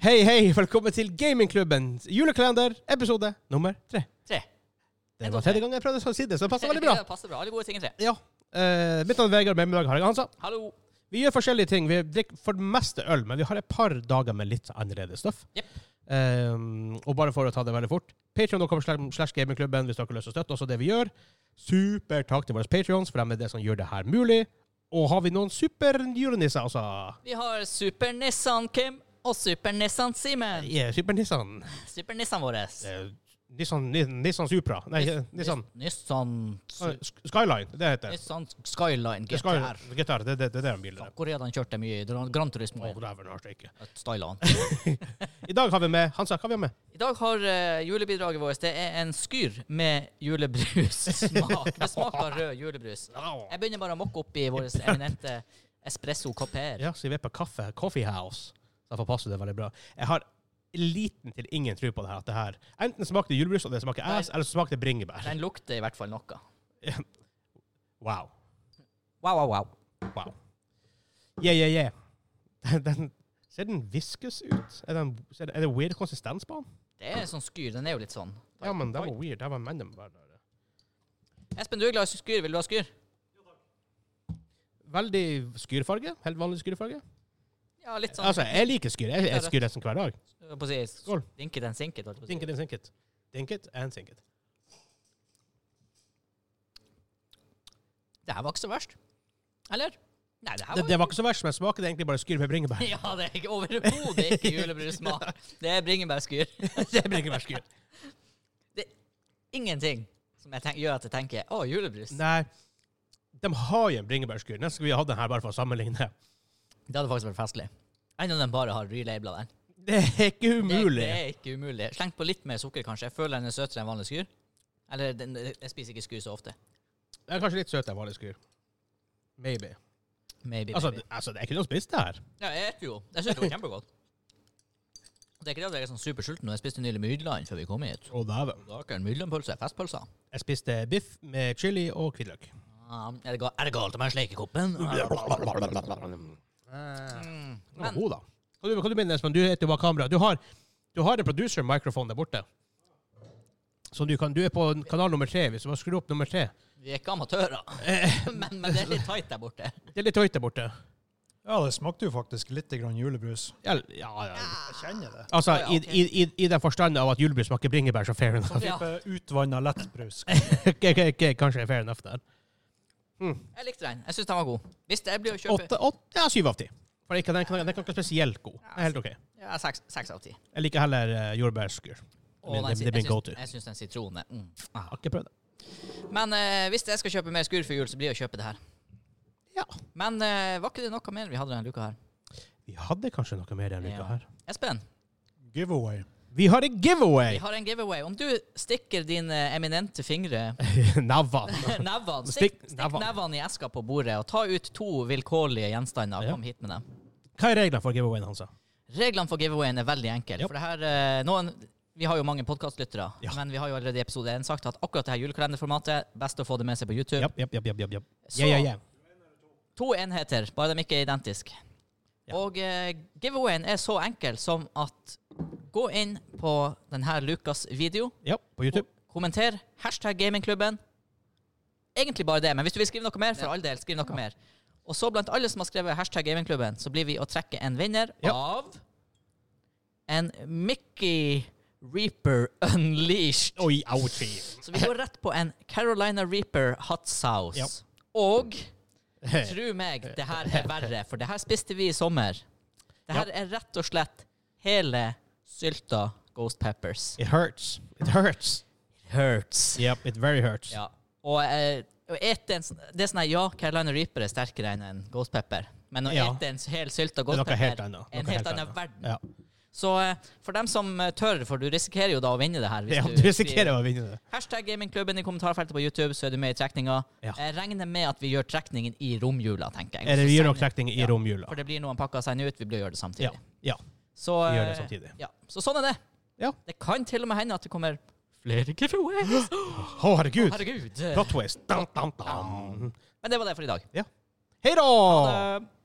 Hei, hei, velkommen til Gamingklubbens julekalender, episode nummer tre. Tre. Det Jeg var går tredje tre. gang jeg prøvde å si det, så det passer veldig bra. Det passer bra. Alle gode ting er tre. Ja. eh, mitt navn er Vegard, med meg i dag har jeg Hansa. Hallo. Vi gjør forskjellige ting. Vi drikker for det meste øl, men vi har et par dager med litt annerledes stoff. Jepp. Eh, og bare for å ta det veldig fort Patreon.com slash gamingklubben hvis dere har lyst til å støtte oss og det vi gjør. Super takk til våre patrions, for de er det som gjør det her mulig. Og har vi noen superjulenisser, altså? Vi har Super-Nissan Kim og Super-Nissan Simen. Yeah, Supernissan. Super-Nissan vår. Eh, Nissan, Nissan Supra. Nei, Nissan. Nissan Ah, Sk- Skyline, det heter det. Nissan Skyline Det er Skyline. GTR. GTR, det, det, det er den bilen. der. Korea den kjørte mye i Gran- Gran Turismo. Å, dæven, det har jeg ikke. Styla han. I dag har vi med Hansa. Hva har vi med? I dag har eh, julebidraget vårt Det er en skyr med julebrussmak. Det smaker rød julebrus. Jeg begynner bare å mokke opp i vår eminente espresso copper. Ja, så vi er på kaffe, Coffee House. Så Derfor passer det veldig bra. Jeg har liten til ingen tro på det her. At det her. Enten smaker det julebrus, og det smaker ass, eller så smaker det bringebær. Den lukter i hvert fall noe. Wow. Wow, wow, wow. Wow. Yeah, yeah, yeah. Den, den, ser den viskus ut? Er, den, ser det- er det weird konsistens på den? Det er en sånn skyr. Den er jo litt sånn. Ja, men det var weird. Det var mennene bare der. Espen, du er glad i skyr. Vil du ha skyr? Veldig skyrfarge. Helt vanlig skyrfarge. Ja, litt sånn. Altså, jeg liker skyr. Jeg, jeg Ja, det- skyr nesten hver dag. Jeg holdt på å si, Skål. Dinket den sinket. holdt jeg på å si. Dinket and sinket. Dinket and sinket. Det her var ikke så verst. Eller? Nei, det her Det, var, det var ikke så verst, men smaker det egentlig bare skyr med bringebær. Ja, det er ikke overhodet ikke julebrussmak. Det er bringebærskyr. det er bringebærskyr. Ingenting som jeg tenk, gjør at jeg tenker 'Å, julebrus'. Nei, de har jo en bringebærskyr. Nesten skulle vi hatt den her bare for å sammenligne. Det hadde faktisk vært festlig. Enn om den bare har relabela den. Det er ikke Det, umulig. det er ikke umulig. Slengt på litt mer sukker, kanskje. Jeg føler den er søtere enn vanlig skyr. Eller den, jeg spiser ikke skyr så ofte. Det er kanskje litt søt enn vanlig skyr. Maybe. Maybe, Altså, maybe. det, altså, det er ikke noe å spise det her. Ja, jeg spiser jo. Jeg syns det var kjempegodt. Det er ikke det at jeg er sånn supersulten. og Jeg spiste nylig Mydland før vi kom hit. Å, dæven. Dagen, Mydlandpølse, festpølser. Jeg spiste biff med chili og hvitløk. Ah, er, det ga- er det galt om jeg sleiker koppen? Den Mm. var Men god, da. Hva du, hva du mener, Espen? Du heter jo bak kamera. Du har, du har en producer-mikrofon der borte. Så du, kan, du er på kanal nummer tre, hvis du bare skrur opp nummer tre. vi er ikke amatører. men, men det er litt tight der borte. Det er litt høyt der borte. Ja, det smakte jo faktisk litt grann julebrus. Ja, ja, ja. Jeg kjenner det. Altså, Ja, ja, ok. i, i, i, i den forstand av at julebrus smaker bringebær, så fair enough. Sånn Ja. type utvanna lettbrus. Ok, ok, ok, Kanskje fair enough der. Jeg likte den. Jeg syns den var god. Hvis det, jeg blir å kjøpe Åtte, åtte, ja, syv av ti. For ikke, den, kan- den kan ikke være spesielt god. Det er helt ok. ja, seks, seks av ti. Jeg liker heller uh, jordbærskur. Og Men den det- si- det blir en jeg syns- go-to. Jeg syns den sitronen er- mm. ah. Har ikke prøvd det. Men eh, hvis jeg skal kjøpe mer skur for jul, så blir det å kjøpe det her. Ja. Men eh, var ikke det noe mer vi hadde denne uka her? Vi hadde kanskje noe mer denne Ja. uka her. Espen, Giveaway. Vi har en vi giveaway! har en giveaway. Om du stikker dine eminente fingre Navvan. Nevene. Stikk, Stikk stikk nevene. nevene i eska på bordet og ta ut to vilkårlige gjenstander. Ja. Kom hit med dem. Hva er reglene for giveawayen, Hansa? Reglene for giveawayen er veldig enkle. Ja. For det her, eh, noen, vi har jo mange podkastlyttere, Ja. men vi har jo allerede i episode 1 sagt at akkurat det her julekalenderformatet best å få det med seg på YouTube. Japp, japp, japp, japp, japp, japp. Så- Ja, ja, ja. To enheter, bare de ikke er identiske. Ja. Og eh, giveawayen er så enkel som at gå inn på denne Lukas video, Ja, på YouTube. kommenter hashtag gamingklubben. Egentlig bare det, men hvis du vil skrive noe mer, for all del, skriv noe mer. Og så blant alle som har skrevet hashtag gamingklubben, så blir vi å trekke en vinner Ja. av en Mickey Reaper Unleashed. Oi, ouchie. Så vi går rett på en Carolina Reaper hot sauce. Ja. Eh. Og tro meg, det her er verre, for det her spiste vi i sommer. Det her er rett og slett hele sylta Ghost Peppers. It hurts. It hurts. Hurts. Yep, it very hurts. Ja. Og eh, å ete en, sånn- det er sånn at ja, Carolina Reaper er sterkere enn en Ghost Pepper. Men å Ja. ete en hel sylta Det er Ghost noe helt Pepper annet. er en Noe helt annen annet. verden. Ja. Så eh, for dem som eh, tør, for du risikerer jo da å vinne det her. hvis ja, du skriver- risikerer å vinne det. Hashtag gamingklubben i kommentarfeltet på YouTube, så er du med i trekninga. Ja. Jeg regner med at vi gjør trekningen i romjula, tenker jeg. Eller Så vi gjør nok sender- trekning i Ja, romjula. For det blir noen pakker å sende ut, vi blir å gjøre det samtidig. Ja. ja. Så, Vi gjør det eh, samtidig. Ja. Så sånn er det. Ja. Det kan til og med hende at det kommer flere giveaways. Å, herregud. Herregud. Plot twist. Dam, dam, dam. Men det var det for i dag. Eh, Hei da! Ha det.